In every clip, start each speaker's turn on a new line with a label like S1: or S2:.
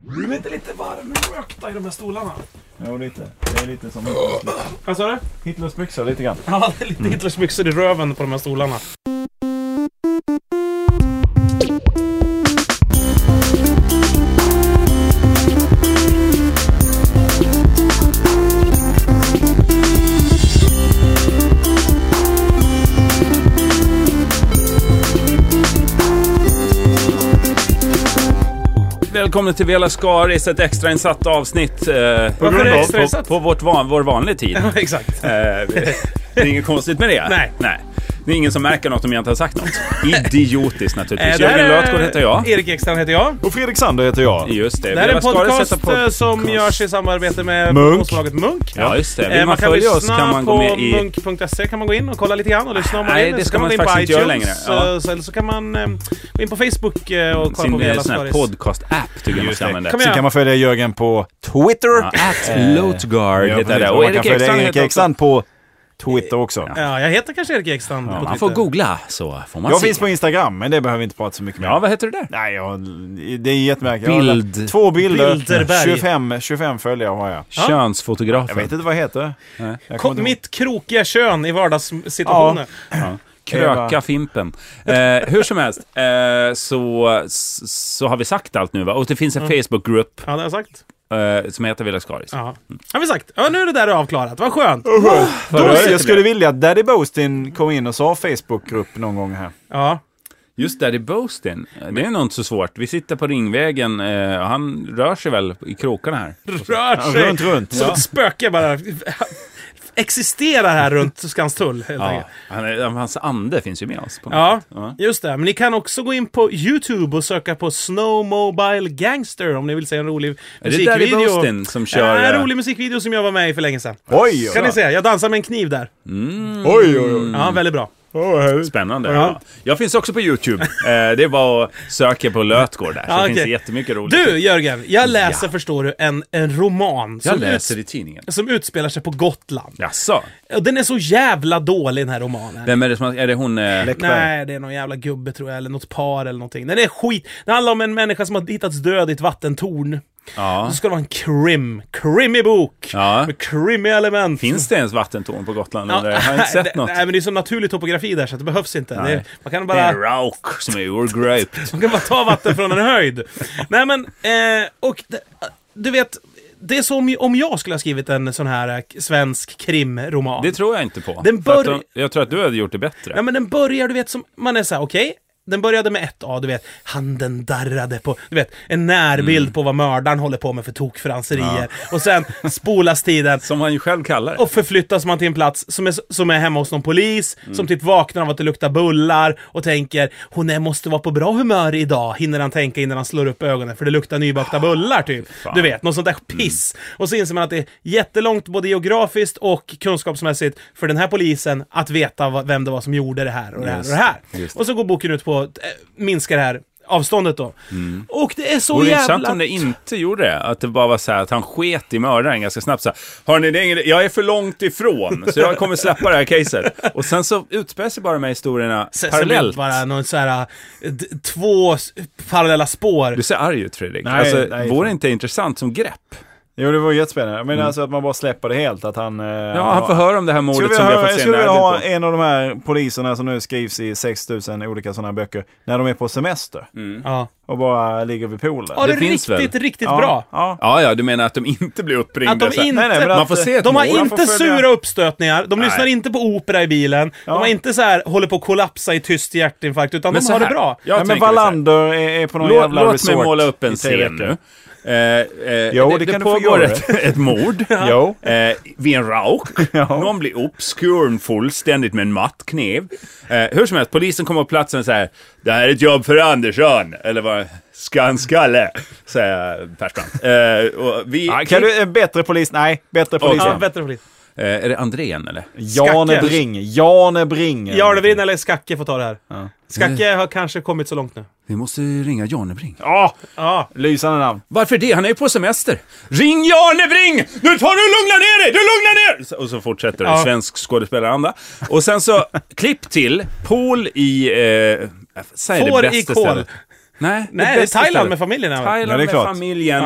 S1: blir inte lite varm och rökta i de här stolarna?
S2: Jo, lite. Det är lite som Hitlers,
S1: Vad sa du?
S2: Hitlers byxor, lite grann.
S1: Ja, det är lite
S3: Mm.
S1: Hitlers byxor i röven på de här stolarna.
S3: Välkommen till Vela Skaris, ett extrainsatt avsnitt eh, på,
S1: Varför är det
S3: grund av, på,
S1: extrainsatt?
S3: på vårt van, vår vanliga tid. eh,
S1: Ja, exakt.
S3: det är inget konstigt med det.
S1: Nej.
S3: Nej. Det är ingen som märker något om jag inte har sagt något. Idiotiskt
S1: Eh,
S3: naturligtvis.
S1: det här
S3: Jörgen
S1: är-
S3: Lötgård heter jag.
S1: Erik Ekstrand heter jag.
S2: Och Fredrik Sander heter jag.
S3: Just det.
S1: Det här är en
S3: Vela Skaris
S1: podcast
S3: heter
S1: eh, som görs i samarbete med
S2: Munk.
S1: produktionsbolaget Munk.
S3: Ja, just det. Vill
S1: Eh,
S3: man,
S1: man kan
S3: följa
S1: lyssna
S3: oss kan man
S1: på
S3: gå med i...
S1: munk.se kan man gå in och kolla lite grann och lyssna om man
S3: Nej,
S1: vill.
S3: det
S1: Så
S3: ska
S1: kan
S3: man
S1: gå in på
S3: faktiskt inte göra
S1: iTunes,
S3: längre. Ja.
S1: eh, så- Eller så kan man eh, gå in på Facebook eh, och kolla på
S3: sin eh,
S1: Vela
S3: sån här
S1: Skaris.
S3: podcast-app tycker jag man ska använda.
S1: Kan man
S2: Sen
S1: göra?
S2: kan man följa Jörgen på Twitter.
S3: Ja, At Lotgard
S2: Ja,
S3: heter
S2: precis.
S3: det.
S2: Och
S3: Och
S2: man kan
S3: Erik
S2: följa
S3: Ekstrand heter
S2: Erik
S3: också.
S2: Ekstrand på Twitter också.
S1: Ja, jag heter kanske Erik Ekstrand på
S3: Ja, Man
S1: Twitter.
S3: får googla så får man
S2: Jag
S3: se.
S2: finns på Instagram, men det behöver vi inte prata så mycket mer
S3: Ja,
S2: om.
S3: vad heter det där?
S2: Nej, jag, det är jättemärkligt. Jag har
S3: Bild-
S2: lagt Två bilder.
S1: Bilderberg.
S2: 25, 25 följare har jag.
S1: Ja.
S2: Jag
S3: Könsfotografen.
S2: vet inte vad jag heter. Jag kommer
S1: Ko-
S2: inte ihåg.
S1: mitt krokiga kön i vardagssituationer.
S3: Kröka
S2: Eva.
S3: Fimpen. Eh, hur som helst, eh, så, så har vi sagt allt nu va? Och det finns en Facebookgrupp
S1: Ja, det har jag sagt.
S3: eh, som heter Villa Skaris.
S1: Mm. Ja. Har vi sagt? Ja, nu är det där avklarat. Vad skönt.
S2: Då,
S3: rör det
S2: jag skulle vilja att Daddy Boastin kom in och sa Facebookgrupp någon gång här.
S1: Ja.
S3: Just där i Boastin, eh, det är nog inte så svårt. Vi sitter på Ringvägen eh, och han rör sig väl i krokarna här.
S1: Rör
S2: Ja,
S1: sig
S2: runt, runt.
S1: som
S2: Ja.
S1: ett spöke bara. Existerar här runt Skanstull, helt
S3: Ja,
S1: enkelt.
S3: han är, hans ande finns ju med oss. På något
S1: Ja,
S3: sätt. Ja.
S1: just det. Men ni kan också gå in på YouTube och söka på Snowmobile Gangster om ni vill se en rolig
S3: Är det Daddy
S1: musikvideo.
S3: Boastin som kör...
S1: Ja,
S3: eh,
S1: en rolig musikvideo som jag var med i för länge sedan.
S2: Oj, Mm.
S1: Kan ni se? Jag dansar med en kniv där.
S2: oj, oj, oj.
S1: Ja, väldigt bra.
S3: Spännande. Ja. Jag finns också på YouTube. Eh, det är bara att söka på Lötgård där. Så
S1: Ja,
S3: finns det
S1: okej.
S3: jättemycket roligt.
S1: Du, Jörgen. Jag läser, förstår du, en, en roman
S3: Jag
S1: som,
S3: läser i tidningen.
S1: ut, som utspelar sig på Gotland.
S3: Jaså?
S1: Och den är så jävla dålig, den här romanen.
S3: Vem är det som har- Är det hon... Eh,
S1: Nej, det är någon jävla gubbe tror jag, eller något par eller någonting. Den är skit. Den handlar om en människa som har hittats död i ett vattentorn.
S3: ja.
S1: Så ska det vara en krim. Krimmig bok!
S3: Ja.
S1: Med krimmiga element.
S3: Finns det ens vattentorn på Gotland? Eller? Jag har inte
S1: det-
S3: sett något.
S1: Nej, men det är så naturlig topografi där så att det behövs inte.
S3: Nej.
S1: Det, man kan
S3: Det är
S1: bara...
S3: en rauk som är urgröpt.
S1: Man kan bara ta vatten från en höjd. Nej men, eh, och d- du vet, det är som om jag skulle ha skrivit en sån här eh, svensk krimroman.
S3: Det tror jag inte på.
S1: Den
S3: För att
S1: bör-
S3: de- Jag tror att du hade gjort det bättre.
S1: Nej men den börjar, du vet, som, man är så här, okej, den började med ett A, du vet, handen darrade på, du vet, en närbild på vad mördaren håller på med för tokfranserier. Och sen spolas tiden.
S3: Som han ju själv kallar det.
S1: Och förflyttas man till en plats som är, som är hemma hos någon polis,
S3: Mm.
S1: som typ vaknar av att det luktar bullar och tänker hon är, måste vara på bra humör idag, hinner han tänka innan han slår upp ögonen för det luktar nybakta bullar typ.
S3: Ah,
S1: Du vet, något sånt där
S3: Mm.
S1: piss. Och så inser man att det är jättelångt både geografiskt och kunskapsmässigt för den här polisen att veta vad, vem det var som gjorde det här och det här och det här. Och så går boken ut på att eh, minska det här avståndet då. Och det är så
S3: Mm. Vore det
S1: jävla...
S3: intressant om det inte gjorde det? Att det bara var så här att han sket i mördaren ganska snabbt. Så här, Hörni, det är ingen... jag är för långt ifrån, så jag kommer släppa det här caset. Och sen så utspelar sig bara de här historierna
S1: Sen- sen blir det
S3: parallellt.
S1: Bara någon så här, eh, d- två s- parallella spår.
S3: Du ser arg ut Fredrik.
S2: Nej,
S3: alltså,
S2: nej,
S3: vore
S2: fan.
S3: inte det intressant som grepp?
S2: Jo, det var jättespännande. Jag menar
S3: Mm.
S2: alltså att man bara släpper det helt. Att han... eh,
S3: Ja, han får höra om det här
S2: Skulle
S3: mordet
S2: vi
S3: som vi
S2: ha,
S3: har
S2: jag
S3: fått se
S2: skulle vilja
S3: närbild
S2: ha
S3: på.
S2: en av de här poliserna som nu skrivs i 6000 olika sådana här böcker, när de är på semester
S3: Mm.
S1: Ja.
S2: och bara ligger vid poolen.
S1: Ja, det är
S3: Det finns
S1: riktigt,
S3: väl?
S1: riktigt
S2: Ja,
S1: bra.
S2: Ja.
S3: Ja, ja, du menar att de inte blir uppringda?
S1: Att de
S3: så här.
S1: inte-
S2: Nej, nej, men
S1: Man
S2: att,
S3: får se ett
S1: De har
S3: mål.
S2: Man får
S1: inte
S2: följa-
S1: sura uppstötningar, de lyssnar inte på opera i bilen, de har inte så här håller på att kollapsa i tyst hjärtinfarkt, utan
S3: Men
S1: de
S3: så
S1: har det
S3: här,
S1: bra.
S3: jag
S2: Nej, men
S3: tänker så här.
S2: Wallander är, är på någon
S3: Låt,
S2: jävla
S3: låt mig
S2: resort
S3: måla upp en
S2: i tre
S3: scen
S2: veckor.
S3: nu. Eh, eh,
S2: Jo,
S3: det,
S2: det
S3: det
S2: kan du få
S3: pågår
S2: göra.
S3: ett, ett mord.
S2: Jo.
S3: Eh, vid en rauk. Någon blir uppskuren fullständigt med en mattkniv. Eh, hur som helst, polisen kommer på platsen och säger Det här är ett jobb för Andersson. Eller vad? Skanskalle, säger Persbrandt. Eh, och vi...
S2: Ja, kan du, eh, bättre polis? Nej, bättre polis.
S1: Ja, bättre polis.
S3: eh, är det Andrén eller?
S2: Jane
S1: Skacke.
S2: Bring. Jane Bring.
S1: Jarlevin eller Skacke får ta det här. Skacke har kanske kommit så långt nu.
S3: Vi måste ringa Janebring.
S2: Ja,
S1: Ja,
S2: Ah, lysande namn.
S3: Varför det? Han är ju på semester. Ring Jarne Bring! Nu tar du lugna ner dig! Du lugnar ner! Och så fortsätter det.
S1: Ja.
S3: Svensk skådespelaranda. Och sen så, klipp till pool i... Eh, säg det
S1: Får
S3: bästa
S1: i kol.
S3: stället. Nej,
S1: Nej, det är
S3: bästa
S1: Thailand
S3: stället.
S1: med familjen. även.
S3: Thailand
S2: Ja, det är
S3: med
S2: klart.
S3: familjen.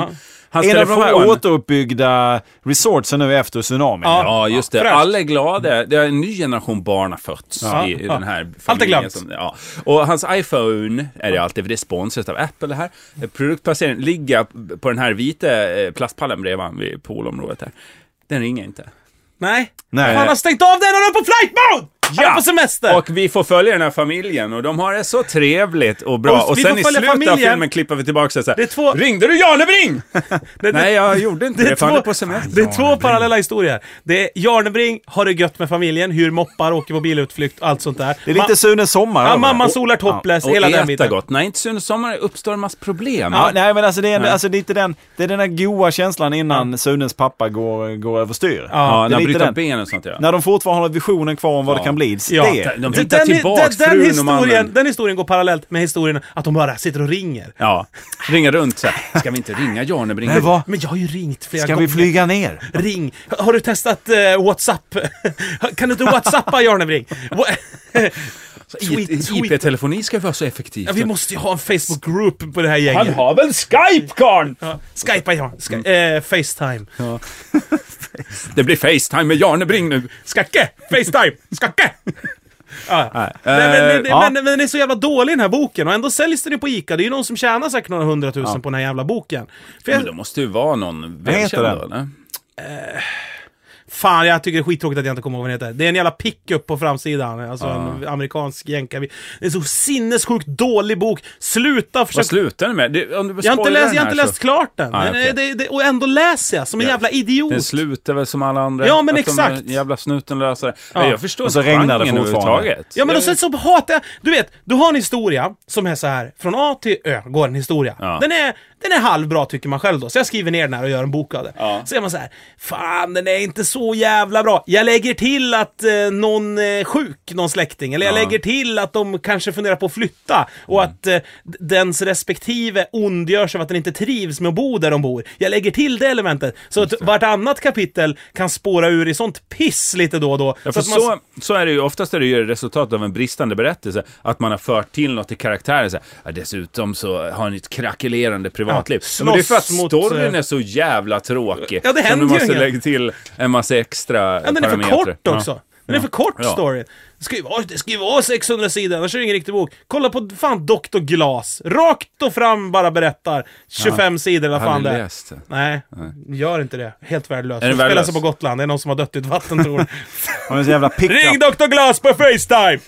S3: Hans
S2: en av de
S3: telefon.
S2: här återuppbyggda resortsen nu efter tsunamin.
S1: Ja.
S3: Ja, just det.
S1: Fräscht.
S3: Alla är glada. Det är en ny generation barn har fötts
S1: Ja.
S3: i, i
S1: Ja.
S3: den här familjen.
S1: Allt är glömt.
S3: som- ja. Och hans iPhone är det alltid, för det är sponsrat av Apple det här. Eh, Produktplaceringen ligger på den här vita eh, plastpallen bredvid vid poolområdet där. Den ringer inte.
S1: Nej.
S2: Nej.
S1: Han har stängt av den och han är på flight mode! Han är på semester!
S3: Och vi får följa den här familjen och de har det så trevligt och bra.
S1: Och
S3: Och,
S1: vi
S3: sen
S1: får
S3: i
S1: följa
S3: slutet av
S1: familjen.
S3: filmen klipper vi tillbaka så här.
S1: Det är två-
S3: Ringde du Janebring?
S1: det,
S3: Nej, jag gjorde inte det. för han är på semester.
S1: det är två parallella historier. Det är Jarnebring har det gött med familjen, hur moppar, åker på bilutflykt, allt sånt där.
S2: Det är lite Sunes sommar.
S1: ja,
S2: över det.
S1: mamman solar topless,
S3: Och
S1: hela
S3: äta
S1: den biten.
S3: gott. Nej, inte Sune Sommar uppstår en massa problem.
S2: Ja, nej, men alltså det, är, en- alltså det är inte den, det är den där goa känslan innan Sunes pappa går, går överstyr.
S1: Ja,
S3: Ja,
S2: det
S3: när
S2: är
S3: han
S2: lite
S3: bryter
S2: den.
S3: ben och sånt ja.
S2: När de fortfarande har visionen kvar om vad
S3: Ja.
S2: det kan bli.
S1: Ja,
S2: det.
S3: De
S1: Den,
S3: hittar
S1: den,
S3: tillbaks
S1: den, den,
S3: frun och mannen.
S1: historien, den historien går parallellt med historien att de bara sitter och ringer.
S3: Ja, ringa runt så här. Ska vi inte ringa Janebring?
S2: Nej, vad?
S1: Men jag har ju ringt flera
S2: Ska
S1: gånger.
S2: vi flyga ner?
S1: Ring! Har du testat eh, WhatsApp? kan du inte WhatsAppa Jarnebring? Wha- tweet,
S3: I-
S1: tweet.
S3: IP-telefoni ska vara så effektivt.
S1: Ja, vi måste ju ha en Facebook-group på det här
S3: Han
S1: gänget.
S3: har väl Skype, karln!
S1: Ja. Skypa ja. Sky-
S3: Mm.
S1: eh, Facetime.
S3: Det blir Facetime med Janebring nu.
S1: Skacke! Facetime! Skacke! Ja. Nej, men, men,
S2: Eh, ja.
S1: men, men den är så jävla dålig den här boken och ändå säljs den ju på Ica. Det är ju någon som tjänar säkert några hundratusen på den här jävla boken. För
S3: Men
S1: jag,
S3: det måste ju vara någon
S2: Vad heter
S3: välkänd.
S2: den?
S3: eller?
S1: Fan, jag tycker det är skittråkigt att jag inte kommer ihåg vad den heter. Det är en jävla pickup på framsidan. Alltså en amerikansk jänkarbil. Det är en så sinnessjukt dålig bok. Sluta försöka...
S3: Vad slutar den med? Det, om du
S1: jag har inte
S3: spoilar
S1: läst, jag har
S3: den
S1: inte
S3: här
S1: läst klart den.
S3: Ah,
S1: Men,
S3: okej.
S1: eh, det, det, och ändå läser jag som en jävla idiot.
S3: Den slutar väl som alla andra?
S1: Ja, men
S3: Att
S1: exakt.
S3: De jävla snuten löser det.
S1: Ja.
S3: Nej, Jag förstår
S2: Och så
S3: inte
S2: regnar det
S3: genren
S2: fortfarande.
S3: överhuvudtaget.
S1: Ja men och sen så hatar jag... Du vet, du har en historia som är så här från A till Ö går en historia.
S3: Ja.
S1: Den, är, den är halvbra tycker man själv då, så jag skriver ner den här och gör en bok av det.
S3: Ja.
S1: Så är man så här, fan den är inte så jävla bra. Jag lägger till att eh, någon är sjuk, någon släkting, eller jag lägger till att de kanske funderar på att flytta och
S3: Mm.
S1: att eh, d- dens respektive ondgör sig av att den inte trivs med att bo där de bor. Jag lägger till det elementet, så att vartannat kapitel kan spåra ur i sånt piss lite då och då.
S3: Ja, för
S1: att man-
S3: så, så är det ju, oftast är det ju resultatet av en bristande berättelse, att man har fört till något i karaktären. Så här, ja, dessutom så har ni ett krackelerande privatliv.
S1: Ja,
S3: Ja, men det är för att
S1: slåss mot,
S3: storyn
S1: eh,
S3: är så jävla tråkig.
S1: Ja, det
S3: som
S1: händer
S3: du
S1: ju
S3: måste
S1: inget.
S3: lägga till en massa extra
S1: Ja, den är för
S3: parametrar.
S1: kort också. Den är för kort
S3: Ja.
S1: storyn. Det ska, ju vara, det ska ju vara 600 sidor, annars är det ingen riktig bok. Kolla på fan Dr. Glas. Rakt och fram bara berättar. 25 sidor eller
S3: Ja. Jag
S1: fan
S3: hade
S1: det är.
S3: läst det.
S1: Nej, gör inte det. Helt värdelöst.
S3: Är den
S1: Det spelar
S3: värdelös?
S1: sig på Gotland. Det är någon som har dött i ett vattentorn.
S2: Och en sån jävla
S1: Ring
S2: pickup.
S1: Dr. Glas på Facetime!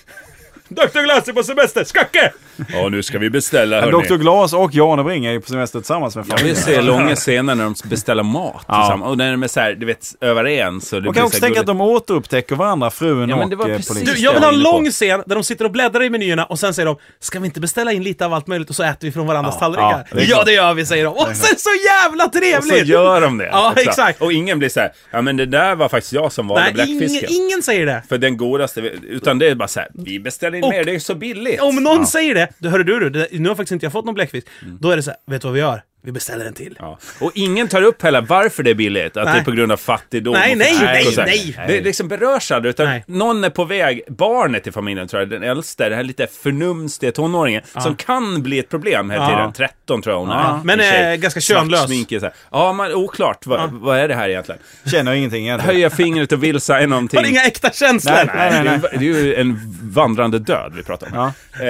S1: Dr. Glas är på semester. Skacke!
S3: Ja, nu ska vi beställa
S2: Dr.
S3: hörni.
S2: Glas och Janebring är ju på semester tillsammans med
S3: Jag
S2: familjen.
S3: vill se långa scener när de beställer mat tillsammans. Och när de är så här, du vet, överens. Och det
S2: Man
S3: blir
S2: kan
S3: så
S2: också
S3: här
S2: tänka att
S3: gulligt.
S2: de återupptäcker varandra, frun
S3: Ja, men
S2: och
S3: det var
S2: eh,
S3: precis
S2: polisen.
S1: Du,
S3: Just
S1: jag
S3: det,
S1: vill ha
S3: jag
S1: en
S3: var inne
S1: lång scen där de sitter och bläddrar i menyerna och sen säger de Ska vi inte beställa in lite av allt möjligt och så äter vi från varandras tallrikar?
S2: ja,
S1: Ja,
S2: det är klart.
S1: det gör vi, säger de. Och sen så jävla
S3: Och så
S1: trevligt!
S3: gör de det.
S1: Ja,
S3: Exakt.
S1: exakt.
S3: Och ingen blir så här, ja men det där var faktiskt jag som valde
S1: Nej, ingen,
S3: bläckfisken.
S1: ingen säger det.
S3: För den godaste, utan det är bara så här, vi beställer in
S1: Och-
S3: mer, det är så billigt.
S1: Om någon säger det, då hörru du, du det, nu har faktiskt inte jag fått någon bläckfisk. Då är det så här, vet du vad vi gör? Vi beställer en till.
S3: Mm. Ja. Och ingen tar upp heller varför det är billigt, att det
S1: Nej.
S3: är på grund av fattigdom
S1: Nej,
S3: och
S1: nej,
S3: förtryck
S1: nej,
S3: och så här.
S1: nej.
S3: Det liksom berörs aldrig, utan
S1: Nej.
S3: någon är på väg, barnet i familjen tror jag, den äldste, den här lite förnumstiga tonåringen, som kan bli ett problem hela tiden, 13 tror jag hon är.
S1: Men,
S3: En
S1: eh,
S3: tjej.
S1: ganska könlös.
S3: Svart smink och så här. Ja, men oklart, vad, vad är det här egentligen?
S2: Känner ingenting egentligen.
S3: Höja fingret och vilsa är någonting.
S1: Har inga äkta känslor!
S2: Nej, nej.
S3: Nej, det, är, ju- det är ju en vandrande död vi pratar om. Eh,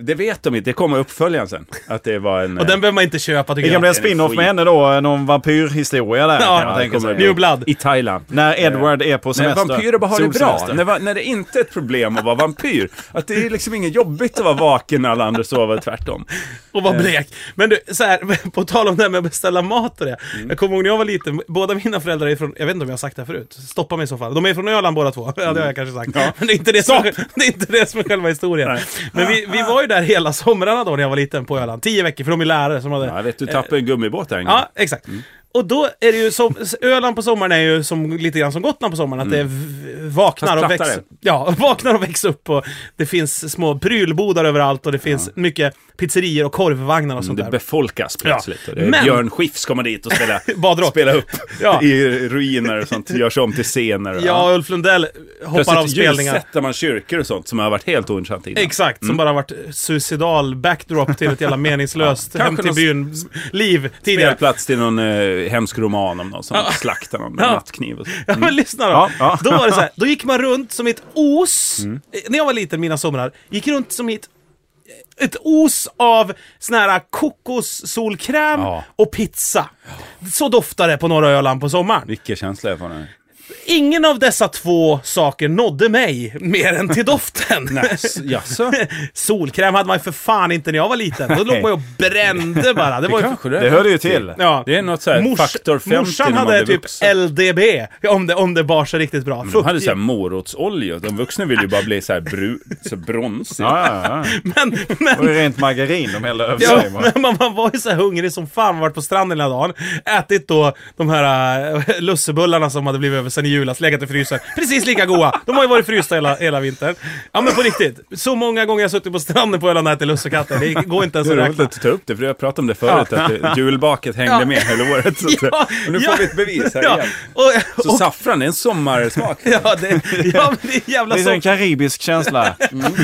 S3: det vet de inte, det kommer uppföljaren sen. Att det var en... eh,
S1: Och den behöver man inte köpa
S2: Det
S1: tycker
S2: kan
S1: jag.
S2: bli en spin-off med henne då, någon vampyrhistoria där. kan man
S1: ja,
S2: tänka
S3: kommer
S2: sig.
S3: bli-
S1: New Blood.
S3: I Thailand.
S2: När Edward är på
S3: När
S2: semester.
S3: vampyrer bara har det bra.
S2: Solsemester.
S3: När, va- när det inte är ett problem att vara vampyr. Att det är liksom inget jobbigt att vara vaken när alla andra sover, tvärtom.
S1: Och
S3: Eh.
S1: var blek. Men du, så här, på tal om det här med att beställa mat och det.
S3: Mm.
S1: Jag kommer ihåg när jag var liten, båda mina föräldrar är från, jag vet inte om jag har sagt det här förut, stoppa mig i så fall. De är från Öland båda två, ja
S3: Mm.
S1: det har jag kanske sagt. Men det är, inte det, som, det är inte det som är själva historien. Men vi, vi var ju där hela somrarna då när jag var liten på Öland, tio veckor, för de är lärare som hade...
S3: Ja, Jag vet, du tappade en gummibåt där en gång.
S1: Ja, exakt. Och då är det ju som, Öland på sommaren är ju som, lite grann som Gotland på sommaren, att det v- vaknar
S3: Mm. Fast
S1: och, växer,
S3: plattare.
S1: ja, vaknar och växer upp och det finns små prylbodar överallt och det finns mycket pizzerior och korvvagnar och sånt
S3: Mm, Det
S1: där.
S3: befolkas plötsligt.
S1: Ja,
S3: Och det är
S1: men-
S3: Björn Skifs kommer dit och spela,
S1: Badrock.
S3: spela upp
S1: Ja.
S3: i ruiner och sånt. Görs om till scener. och-
S1: Ja, Ulf Lundell hoppar av
S3: Plötsligt
S1: spelningar.
S3: ljussätter man kyrkor och sånt som har varit helt ointressant innan.
S1: Exakt, som bara har varit suicidal backdrop till ett jävla meningslöst hem
S3: Kanske
S1: till
S3: någon
S1: byn-liv tidigare.
S3: Spelplats till någon eh, hemsk roman om någon som
S1: Ja.
S3: slaktar någon med
S1: Ja.
S3: nattkniv och så.
S1: Ja, men lyssna då.
S2: Ja, ja.
S1: Då var det så här, då gick man runt som i ett os. Eh, När jag var liten, mina somrar, gick runt som i ett eh, ett os av sån här eh, kokossolkräm
S3: Ja.
S1: och pizza. Så doftar det på norra Öland på sommaren.
S3: Vilken känsla jag får nu.
S1: Ingen av dessa två saker nådde mig mer än till doften.
S3: Jaså?
S1: Solkräm hade man ju för fan inte när jag var liten. Då låg man ju och brände bara. Det var ju...
S2: Det hörde ju till.
S1: Ja.
S3: Det är något så här faktor 50
S1: morsan
S3: när man
S1: hade
S3: blir
S1: typ
S3: vuxen. Mm,
S1: LDB, om det, om det bar sig riktigt bra.
S3: De hade så här morotsolja. De vuxna ville ju bara bli så här, bru, så här bronsig.
S2: Ja, ja, ja.
S1: men, men,
S2: Det var ju rent margarin de hällde över
S1: Ja,
S2: sig. bara.
S1: men man, man var ju så här hungrig som fan, man varit på stranden hela dagen, ätit då de här äh, lussebullarna som hade blivit över sen i julas, legat i frysen. Precis lika goda! De har ju varit frysta hela, hela vintern. Ja men på riktigt, så många gånger jag har suttit på stranden på Öland och ätit lussekatter, det går inte ens
S3: Det är
S1: att
S3: roligt
S1: räkna.
S3: att du tar upp det, för jag pratade om det förut, att eh, julbaket hängde
S1: Ja.
S3: med hela året. Så att,
S1: Ja,
S3: och nu
S1: ja.
S3: får vi ett bevis här
S1: Ja,
S3: igen.
S1: och,
S3: Så
S1: och,
S3: saffran är en sommarsmak.
S1: ja, det, ja, men det är jävla
S2: Lite en
S1: så.
S2: karibisk känsla.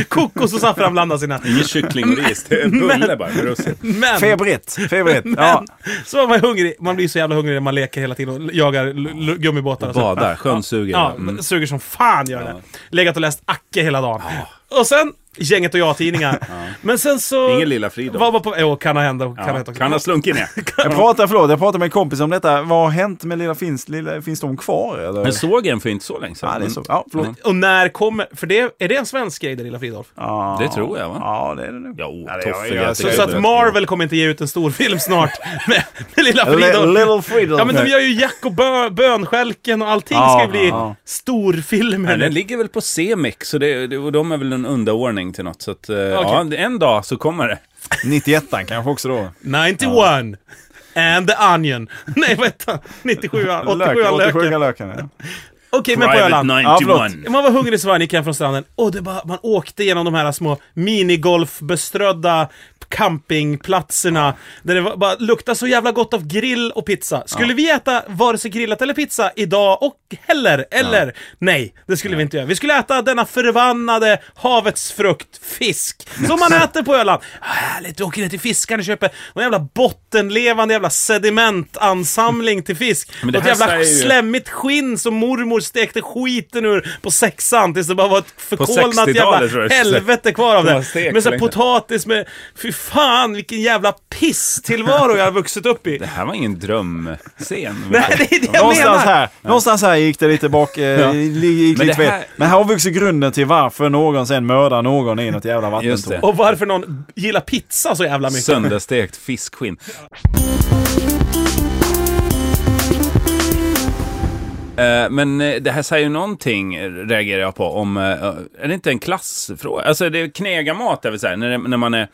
S1: Kokos och saffran blandas innan.
S3: Inget kyckling och ris, det är bulle bara med russin.
S1: Men,
S2: Febrigt, febrigt. Ja.
S1: men så var man hungrig, man blir så jävla hungrig när man leker hela tiden och jagar l- l- gummibåtar och så.
S3: Badar, sjönsuger.
S1: Ja,
S3: Mm.
S1: suger som fan gör det. Legat och läst Acke hela dagen. Och sen Gänget och jag-tidningar. Men sen så...
S3: Ingen Lilla Fridolf.
S1: Vad var på... Jo, kan ha hänt. och Kan ha
S3: Ja,
S1: hänt också.
S3: kan ha slunkit ner.
S2: Jag pratar, förlåt, jag pratade med en kompis om detta. Vad har hänt med Lilla Finns? Lilla, finns de kvar eller?
S3: Jag såg en för inte så länge sedan.
S2: Ja, det är så. Ja, förlåt.
S1: Och när kommer... För det, är det en svensk grej, det Lilla Fridolf?
S2: Ja.
S3: Det tror jag va?
S2: Ja, det är det nog.
S3: Ja,
S2: Ja, det-
S3: toffel,
S2: ja, ja,
S3: jag
S1: Så,
S3: tycker
S1: så
S3: det
S1: att
S3: är-
S1: Marvel kommer inte ge ut en stor film snart med, med Lilla
S2: Li-
S1: Fridolf.
S2: Little Freedom.
S1: Ja, men de gör ju Jack och bö, Bönskälken och allting ska ju
S2: Ja,
S1: bli
S2: ja.
S1: storfilmer.
S3: Men den ligger väl på CMX, så det, det, och de är väl en underordning till något. Så att, eh, ja, en dag så kommer det.
S2: 91 kanske också då.
S1: 91! And the Onion. Nej, vad hette han? 97 87
S2: Lök, 87
S1: Löken.
S2: löken. Ja.
S1: Okej, men på
S3: Private
S1: Öland.
S3: 91.
S2: Ja,
S3: Mm.
S2: förlåt.
S1: Man var hungrig så var gick hem från stranden och det bara, man åkte genom de här små minigolfbeströdda campingplatserna. Där det var, bara luktade så jävla gott av grill och pizza. Skulle vi äta vare sig grillat eller pizza idag och heller? Eller? Nej, det skulle vi inte göra. Vi skulle äta denna förvannade havets frukt, fisk. Som man äter på Öland. Ah, härligt, vi åker ner till fiskaren och köper någon jävla bottenlevande jävla sedimentansamling till fisk.
S3: Men det
S1: Något
S3: här
S1: jävla
S3: säger ju-
S1: slemmigt skinn som mormor stekte skiten ur på sexan tills det bara var ett förkolnat
S3: 60-talet tror
S1: jävla
S3: jag det skulle
S1: helvete kvar av
S3: De
S1: det.
S3: har stekt
S1: Med så här
S3: länge.
S1: potatis med... Fy fan vilken jävla piss-tillvaro jag har vuxit upp i.
S3: Det här var ingen drömscen.
S1: Nej, det är det jag
S2: Någonstans
S1: menar!
S2: här, någonstans här gick det lite bak, eh, li- gick
S3: Men
S2: lite
S3: det
S2: fel.
S3: här-
S2: Men här har vi också grunden till varför någon sen mördar någon i något jävla
S3: Just det.
S2: vattentorn.
S1: Och varför någon gillar pizza så jävla mycket.
S3: Sönderstekt fiskskinn. Eh, Men eh, det här säger ju någonting, eh, reagerar jag på, om... eh, Är det inte en klassfråga? Alltså, det är knegarmat, det vill säga, när, det- när man är,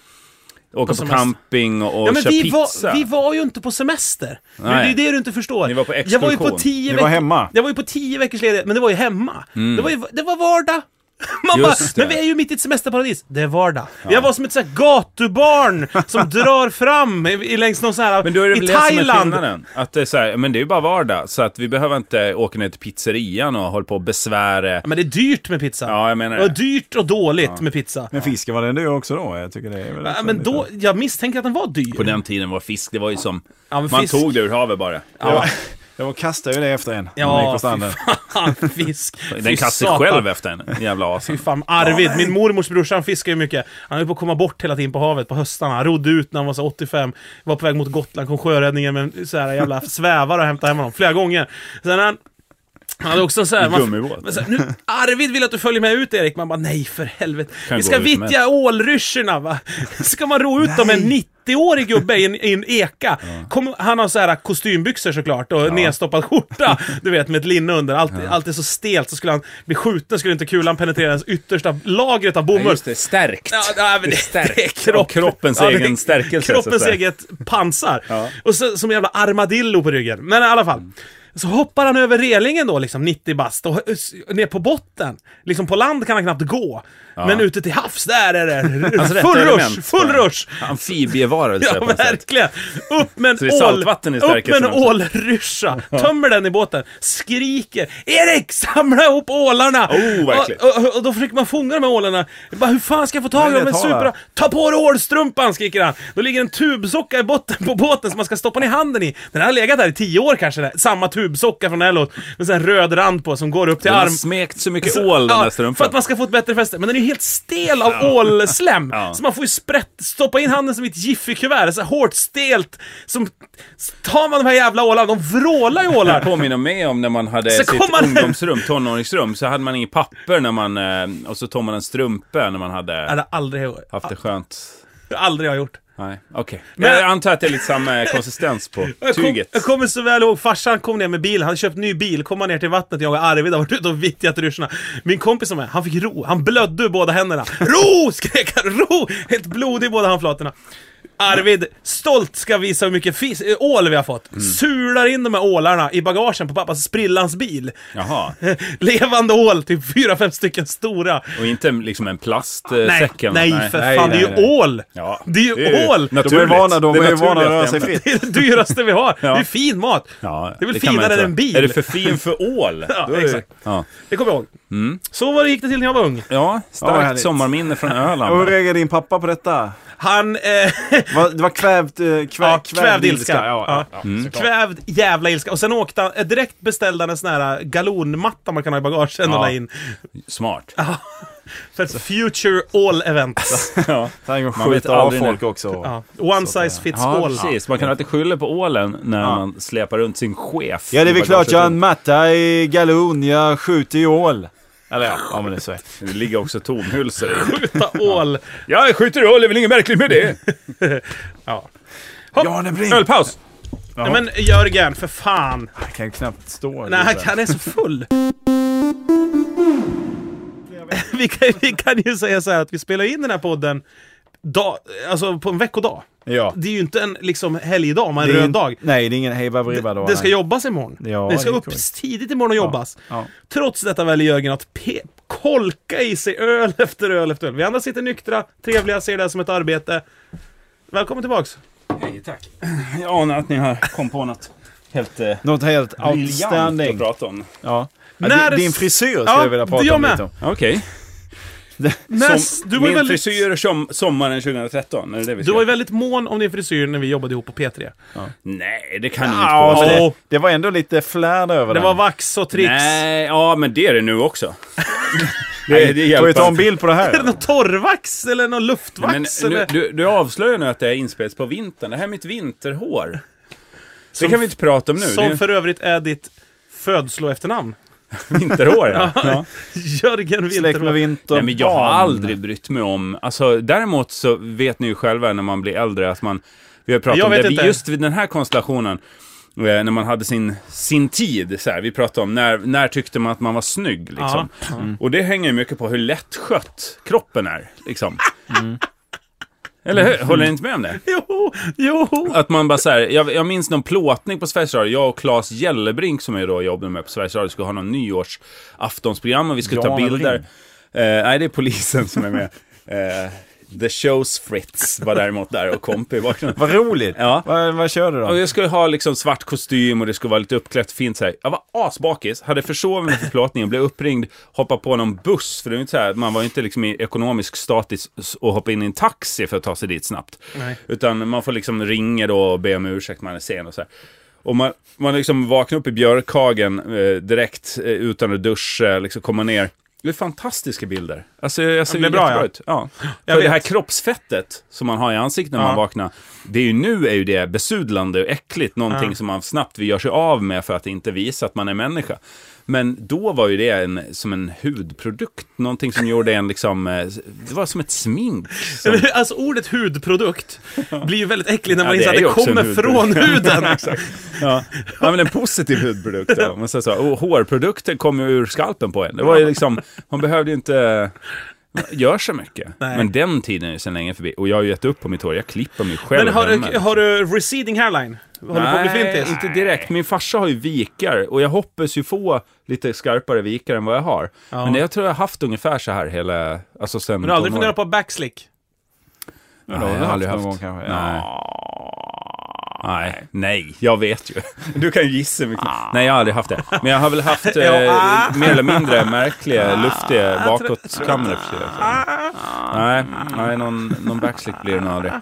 S3: åker på,
S1: semester.
S3: camping och, och
S1: Ja, men
S3: kör
S1: vi,
S3: pizza.
S1: var, vi var ju inte på semester. Det är
S3: Nej.
S1: ju det du inte förstår.
S3: Ni var på
S1: jag var ju på
S3: exkursion.
S1: tio
S2: Ni var
S1: veck-
S2: hemma.
S1: Jag var ju på tio veckors ledighet, men det var ju hemma. Det, var ju, det var vardag. Man bara,
S3: Mm. Just det.
S1: men vi är ju mitt i ett semesterparadis. Det är vardag. Jag var som ett sånt här gatubarn som drar fram i, i, längs någon sån här...
S3: Men då är det
S1: I
S3: väl det som är
S1: Thailand.
S3: skillnaden. Att det är så här, men det är ju bara vardag. Så att vi behöver inte åka ner till pizzerian och hålla på och besvära.
S1: Ja, men det är dyrt med pizza.
S3: Ja, jag menar
S1: det. var
S3: det.
S1: dyrt och dåligt med pizza.
S2: Men fisken var den du också då? Jag tycker det är väl
S1: Ja,
S2: också
S1: men
S2: lite-
S1: då, jag misstänker att den var dyr.
S3: På den tiden var fisk, det var ju som...
S1: Ja, men
S3: man
S1: fisk-
S3: tog det ur havet bara.
S2: Jag, var- jag kastade ju det efter en. när jag gick
S1: Ja, fy
S2: på stranden.
S1: fan. Fisk.
S3: Den
S1: Fy
S3: kastade
S1: satan.
S3: själv efter en jävla asen.
S1: Fy fan, Arvid, min mormors brorsa, han fiskar ju mycket. Han höll på att komma bort hela tiden på havet på höstarna. Han rodde ut när han var så 85, var på väg mot Gotland, kom sjöräddningen med en så här jävla svävare och hämtade hem honom flera gånger. Sen när han Han hade också så här, man,
S3: Gummibåt.
S1: men så här, nu, Arvid vill att du följer med ut Erik, man bara nej för helvete.
S3: Kan
S1: Vi
S3: gå
S1: ska
S3: hur som
S1: vittja ålryschorna va. Ska man ro ut dem med en 90-årig gubbe i en, i en eka. Kom, han har så här kostymbyxor såklart och nedstoppad skjorta. Du vet med ett linne under. Allt, allt är så stelt så skulle han bli skjuten, skulle inte kulan penetrera ens yttersta lagret av bomull.
S3: Just det, stärkt.
S1: Ja, nej, men det,
S3: stärkt.
S1: det är kropp.
S3: Ja, kroppens
S1: det är
S3: egen stärkelse, så att
S1: Kroppens
S3: säga.
S1: eget pansar. Och så, som en jävla armadillo på ryggen. Men i alla fall. Så hoppar han över relingen då, liksom 90 bast, och s- ner på botten. Liksom på land kan han knappt gå. Men ute till havs, där är det
S3: Hans rätta
S1: full rush,
S3: Alltså, element,
S1: full
S3: tror jag.
S1: rush!
S3: Amfibievarelse
S1: Ja,
S3: på något sätt.
S1: verkligen! Upp med
S3: Så
S1: en
S3: det är
S1: ål...
S3: saltvatten i
S1: Upp med
S3: stärkelsen
S1: en
S3: också.
S1: ålryscha! Tömmer den i båten, skriker Erik, samla ihop ålarna!
S3: Oh, vad äckligt.
S1: och, och, och då försöker man fånga de här ålarna. Jag Bara, hur fan ska jag få tag i
S2: Nej,
S1: dem? En
S2: ta
S1: super...
S2: det.
S1: Ta på dig ålstrumpan, skriker han! Då ligger en tubsocka i botten på båten som man ska stoppa ner handen i. Den här har legat där i tio år kanske, den här. samma tubsocka från Elliot. Med sån här röd rand på som går upp till
S3: Den har
S1: arm...
S3: smekt så mycket ål den
S1: Ja,
S3: där
S1: För att
S3: strumpan.
S1: man ska få ett bättre fäste. Men den är ju helt stel av ålslem.
S3: Ja.
S1: Så man får ju sprätt, stoppa in handen som i ett Jiffy-kuvert. Så här hårt, stelt. Som, tar man de här jävla ålarna, de vrålar ju
S3: Det här
S1: ålar.
S3: påminner mig om när man hade
S1: Så kom
S3: sitt
S1: man-
S3: ungdomsrum, tonåringsrum, så hade man inget papper när man... eh, Och så tog man en strumpa när man
S1: Det
S3: hade
S1: har aldrig,
S3: haft det skönt.
S1: aldrig jag gjort.
S3: Nej, okej.
S1: Men-
S3: Jag antar att det är lite samma konsistens på
S1: Jag, kom,
S3: tyget.
S1: jag kommer så väl ihåg, farsan kom ner med bilen, han hade köpt ny bil, kom han ner till vattnet, jag och Arvid har varit ute och vittjat ryssarna. Min kompis som är han fick ro, han blödde ur båda händerna. Ro! skrek han, ro! Helt blodig i båda handflatorna. Arvid, stolt ska visa hur mycket fis, äh, ål vi har fått.
S3: Mm.
S1: Sular in de här ålarna i bagagen på pappas sprillans bil.
S3: Jaha.
S1: Levande ål, typ fyra fem stycken stora.
S3: Och inte liksom en
S1: Nej,
S3: plastsäck eller
S1: nej,
S3: något.
S1: för fan, det är ju ål!
S3: Ja,
S1: Det är ju ål!
S2: De är ju vana, de är ju vana att röra sig
S3: fritt.
S2: fritt.
S1: Det är det dyraste vi har. Det är fin mat.
S3: Ja,
S1: det är väl
S3: kan man
S1: finare än
S3: inte-
S1: en bil.
S3: Är det för fin för ål?
S1: Ja,
S3: Då är det-
S1: exakt.
S3: Ja,
S1: Det kommer jag ihåg. Så var det gick det till när jag var ung.
S3: ja
S2: Ja,
S3: starkt
S2: härligt.
S3: sommarminne från
S2: Och hur
S3: Öland.
S2: reagerade din pappa på detta?
S1: Han... Eh,
S2: Va- Det var kvävt... eh, Kvä,
S1: ja,
S2: kvävd,
S1: kvävd ilska.
S2: ilska. Ja, ja.
S1: Kvävd jävla ilska. Och sen åkte han... eh, Direkt beställde han en sån här eh, galonmatta man kan ha i bagagen och la in.
S3: Smart.
S1: För ett future all event.
S3: Alltså. Ja.
S2: Tänk att
S3: Man vet
S2: skjuta av
S3: aldrig när-
S2: folk också.
S1: ja. One size fits
S3: Ja,
S1: all.
S3: precis. Man kan alltid skylla på ålen när man släpar runt sin chef.
S2: Ja, det är väl
S3: i
S2: klart. Jag har en
S3: bagaget.
S2: matta i galon, jag skjuter i ål. Eller ja, ja men det är så.
S3: Det ligger också tomhylsor i.
S1: Skjuta all.
S3: Jag skjuter ål, det är väl inget märkligt med det?
S1: Ja.
S2: Ja, den blir...
S3: Ölpaus!
S1: Nej, men Jörgen, för fan.
S2: Jag kan knappt stå.
S1: Nej, han, han är så full. vi, kan, vi kan ju säga så här att vi spelar in den här podden dag, alltså på en veckodag.
S2: Ja.
S1: Det är ju inte en liksom, helgdag, man
S2: Det
S1: en
S2: är
S1: röd
S2: in-
S1: dag.
S2: Nej, det är ingen hej baberiba då.
S1: Det ska
S2: nej.
S1: jobbas imorgon.
S2: Ja,
S1: det ska
S2: det är
S1: upp
S2: korrekt.
S1: tidigt imorgon och jobbas.
S2: Ja.
S1: Trots detta väljer Jörgen att pe- kolka i sig öl efter öl efter öl. Vi andra sitter nyktra, trevliga, ser det här som ett arbete. Välkommen tillbaks.
S3: tack. Jag anar att ni har kom på något helt eh,
S2: Något helt
S3: briljant att
S2: outstanding.
S3: prata om.
S2: Ja. Ja,
S1: När-
S2: din- Din frisyr skulle
S1: Ja,
S2: jag vilja
S1: jag
S2: prata om
S1: med.
S2: lite om.
S3: Okej.
S1: När-
S3: Som-
S1: du var ju
S3: Min
S1: väldigt,
S3: frisyr som, sommaren 2013, är det det vi
S1: du
S3: ska
S1: var ju
S3: göra?
S1: väldigt mån om din frisyr när vi jobbade ihop på P3.
S3: Nej, det kan ni inte
S2: Ja,
S3: påstå.
S2: men
S1: Åh.
S2: det, det var ändå lite flärd över
S1: Det
S2: den.
S1: var vax och tricks.
S3: Nej, ja men det är det nu också. det, det
S2: Får vi ta
S3: hjälper
S2: en bild på det
S1: Är det
S2: här?
S1: någon torrvax eller någon
S3: Men
S1: luftvax?
S3: nu,
S1: eller?
S3: du, du avslöjar nu att det är inspelat på vintern. Det här är mitt vinterhår. det kan vi inte prata om nu. Det är
S1: Som
S3: ju
S1: för övrigt är ditt födslo-efternamn.
S3: vinterhår. Ja. Ja.
S1: Jörgen
S2: Släkt med
S1: Winterman.
S2: vinter.
S3: Nej, men jag har
S2: barn.
S3: aldrig brytt mig om... Alltså, däremot så vet ni ju själva när man blir äldre att man... Vi har pratat
S1: Jag
S3: om
S1: vet
S3: det. Vi-
S1: inte.
S3: Just vid den här konstellationen, eh, när man hade sin, sin tid, så här, vi pratade om när, när tyckte man att man var snygg. Liksom.
S1: Mm.
S3: Och det hänger ju mycket på hur lättskött kroppen är. Liksom.
S1: Mm.
S3: Eller hur? Håller ni inte med om det?
S1: Jo, jo.
S3: Att man bara så här, jag, jag minns någon plåtning på Sveriges Radio, jag och Claes Gellerbrink som jag då jobbade med på Sveriges Radio skulle ha någon nyårsaftonsprogram och vi skulle ta
S2: Jan
S3: bilder.
S2: Elbrink.
S3: Eh, nej, det är polisen som är med. Eh, The Shows Fritz var däremot där och komp i bakgrunden.
S2: Vad roligt!
S3: Ja.
S2: Vad, vad kör du
S3: Och
S2: då?
S3: jag skulle ha liksom svart kostym och det skulle vara lite uppklätt fint så här. Jag var asbakis, hade försovit mig för plåtningen, blev uppringd, hoppade på någon buss, för det var inte så här, man var ju inte liksom i ekonomisk status och hoppa in i en taxi för att ta sig dit snabbt.
S1: Nej.
S3: Utan man får liksom ringa då och be om ursäkt, man är sen och så här. Och man, man liksom vaknar upp i björkhagen eh, direkt eh, utan att duscha, liksom komma ner. Det är fantastiska bilder. Alltså, jag ser
S1: blir bra,
S3: jättebra
S1: ja.
S3: ut. Ja.
S1: Jag
S3: För
S1: vet.
S3: det här kroppsfettet som man har i ansiktet när
S1: Ja.
S3: man vaknar, det är ju nu är ju det besudlande och äckligt, någonting som man snabbt vill göra sig av med för att inte visa att man är människa. Men då var ju det en, som en hudprodukt, någonting som gjorde en liksom, eh, det var som ett smink. Som,
S1: Eller hur? Alltså ordet hudprodukt blir ju väldigt äckligt när man
S3: Ja,
S1: inser
S3: det
S1: att
S3: är
S1: det
S3: ju också en
S1: kommer från
S3: hudprodukt.
S1: huden.
S3: ja. ja, men en positiv hudprodukt. Då. Man säger så, och hårprodukten kom ju ur skalpen på en. Det var ju liksom, man behövde ju inte göra så mycket.
S1: Nej.
S3: Men den tiden är ju sedan länge förbi. Och jag har ju gett upp på mitt hår, jag klipper mig själv
S1: Men har
S3: hemma.
S1: du, har du receding hairline? Håller du på att bli
S3: Nej,
S1: flintis?
S3: inte direkt. Min farsa har ju vikar och jag hoppas ju få lite skarpare vikar än vad jag har.
S1: Ja.
S3: Men det, jag tror jag har haft ungefär så här hela, alltså sen
S1: Men du har aldrig funderat på backslick?
S3: Nej,
S2: det har
S3: jag
S2: du
S3: har aldrig
S2: haft
S3: haft.
S2: någon gång kanske.
S3: Nej. Nej, nej, jag vet ju. Du kan ju gissa mycket. Nej, jag har aldrig haft det. Men jag har väl haft eh,
S1: Ja, ah.
S3: mer eller mindre märkliga, luftiga bakåtkamrar. för sig, alltså. Nej, nej någon, någon backslick blir det nog aldrig.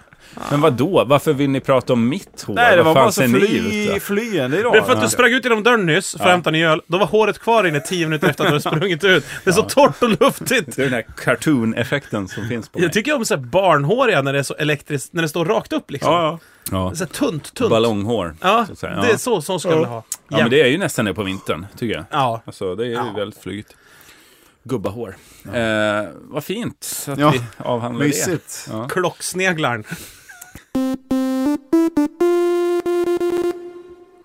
S3: Men vad då? Varför vill ni prata om mitt hår?
S2: Nej, det
S3: Vad
S2: var
S3: fan
S2: bara så
S3: ser ni ut då?
S2: fly, flyende idag.
S1: Det är för att du sprang ut genom dörren nyss för att hämta en ny öl. Då var håret kvar inne tio minuter efter att du hade sprungit ut. Det är så torrt och luftigt.
S3: Det är den här cartoon-effekten som finns på mig.
S1: Jag tycker om så här barnhåriga när det är så elektriskt, när det står rakt upp liksom.
S2: Ja,
S3: Ja.
S1: Så här tunt, tunt.
S3: Ballonghår.
S1: Ja,
S3: så att säga. Ja.
S1: det är så, så ska man ha.
S3: ja, men det är ju nästan det på vintern, tycker jag.
S1: Ja.
S3: Alltså, det är ju väldigt flygigt. Gubbahår. Eh, vad fint att
S2: Ja.
S3: vi avhandlar det.
S2: Mysigt.
S3: Ja.
S1: Klocksneglaren.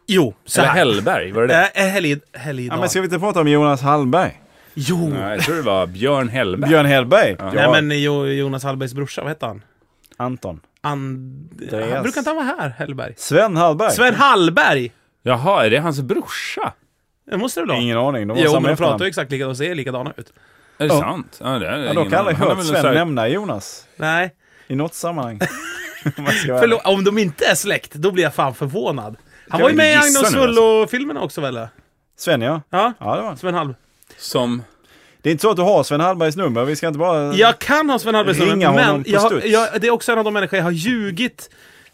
S1: Jo, så
S3: Eller
S1: här.
S3: Hellberg, var det det?
S1: Äh, Helid, helid,
S2: Ja, men ska vi inte prata om Jonas Hallberg?
S1: Jo!
S3: Nej, jag tror det var Björn Hellberg.
S2: Björn Hellberg? Ja.
S1: Nej men jo, Jonas Hallbergs brorsa, vad hette han?
S2: Anton.
S1: And...
S2: Andreas.
S1: Han brukar inte han vara här, Hellberg?
S2: Sven Hallberg?
S1: Sven Hallberg!
S3: Jaha, är det hans brorsa?
S1: Det måste det vara.
S2: Ingen aning, de
S1: Jo,
S2: var
S1: men
S2: samma
S1: de pratar ju
S2: efternamn.
S1: exakt likadant och ser likadana ut.
S3: Är det
S2: Ja.
S3: sant? Ja, det är
S2: Ja, dock aldrig hört Sven nämna Jonas.
S1: Nej.
S2: I något sammanhang. Om man ska vara
S1: Förlåt, om de inte är släkt, då blir jag fan förvånad. Han
S2: Kan
S1: var ju
S2: vi
S1: med i
S3: gissa
S1: Agnes
S3: nu, alltså?
S1: Hullo-filmerna också väl? eller?
S2: ärlig. Sven ja.
S1: Ja,
S2: Ja, det var han.
S1: Sven Hallberg.
S3: Som...
S2: Det är inte så att du har Sven Hallbergs nummer, vi ska inte bara...
S1: Jag kan ha Sven Hallbergs
S2: Alltså, Ringa
S1: nummer, men
S2: honom på
S1: jag, har-
S2: studs.
S1: jag, det är också en av de människor jag har ljugit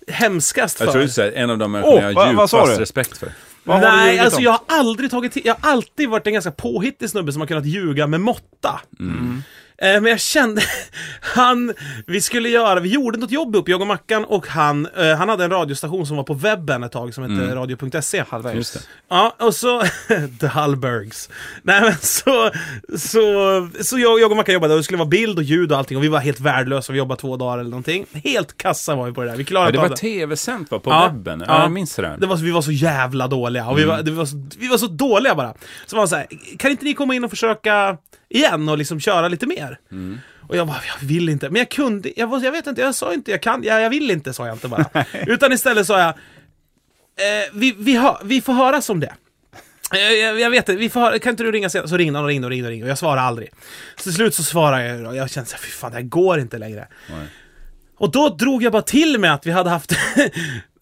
S1: hemskast för.
S3: Jag tror det är en av de människorna jag
S2: vad-
S3: har
S2: vad sa
S3: djupast
S2: du?
S3: respekt för.
S2: Vad har du
S1: Nej,
S2: ljugit
S1: alltså
S2: om?
S1: jag har aldrig tagit till. Jag har alltid varit en ganska påhittig snubbe som har kunnat ljuga med måtta. Eh, Men jag kände, han, vi skulle göra, vi gjorde något jobb upp, jag och Mackan och han, eh, han hade en radiostation som var på webben ett tag som hette radio.se.
S3: Just det.
S1: Ja, och så... The Hallbergs. Nej men så... Så, så jag, jag och Mackan jobbade och det skulle vara bild och ljud och allting och vi var helt värdelösa, vi jobbade två dagar eller någonting. Helt kassa var vi på det där, vi klarade
S3: Ja, det
S1: inte
S3: var
S1: av det.
S3: tv-sänt va, på
S1: Ja,
S3: webben?
S1: ja.
S3: Ja, jag minns det där.
S1: Det var, så- vi var så jävla dåliga och vi, var, det var, så, vi var så dåliga bara. Så var han så här, kan inte ni komma in och försöka igen och liksom köra lite mer? Och jag bara, jag vill inte. Men jag kunde, jag, var, jag vet inte, jag sa inte, jag kan, jag, jag vill inte sa jag inte bara. Utan istället sa jag, eh, vi, vi, hör, vi får höras om det. Eh, Jag, jag vet inte, vi får, höra- kan inte du ringa sen? Så ringde han och ringde och ringde och ringde och jag svarade aldrig. Så till slut så svarade jag och jag kände såhär, fy fan det här går inte längre. Och då drog jag bara till med att vi hade haft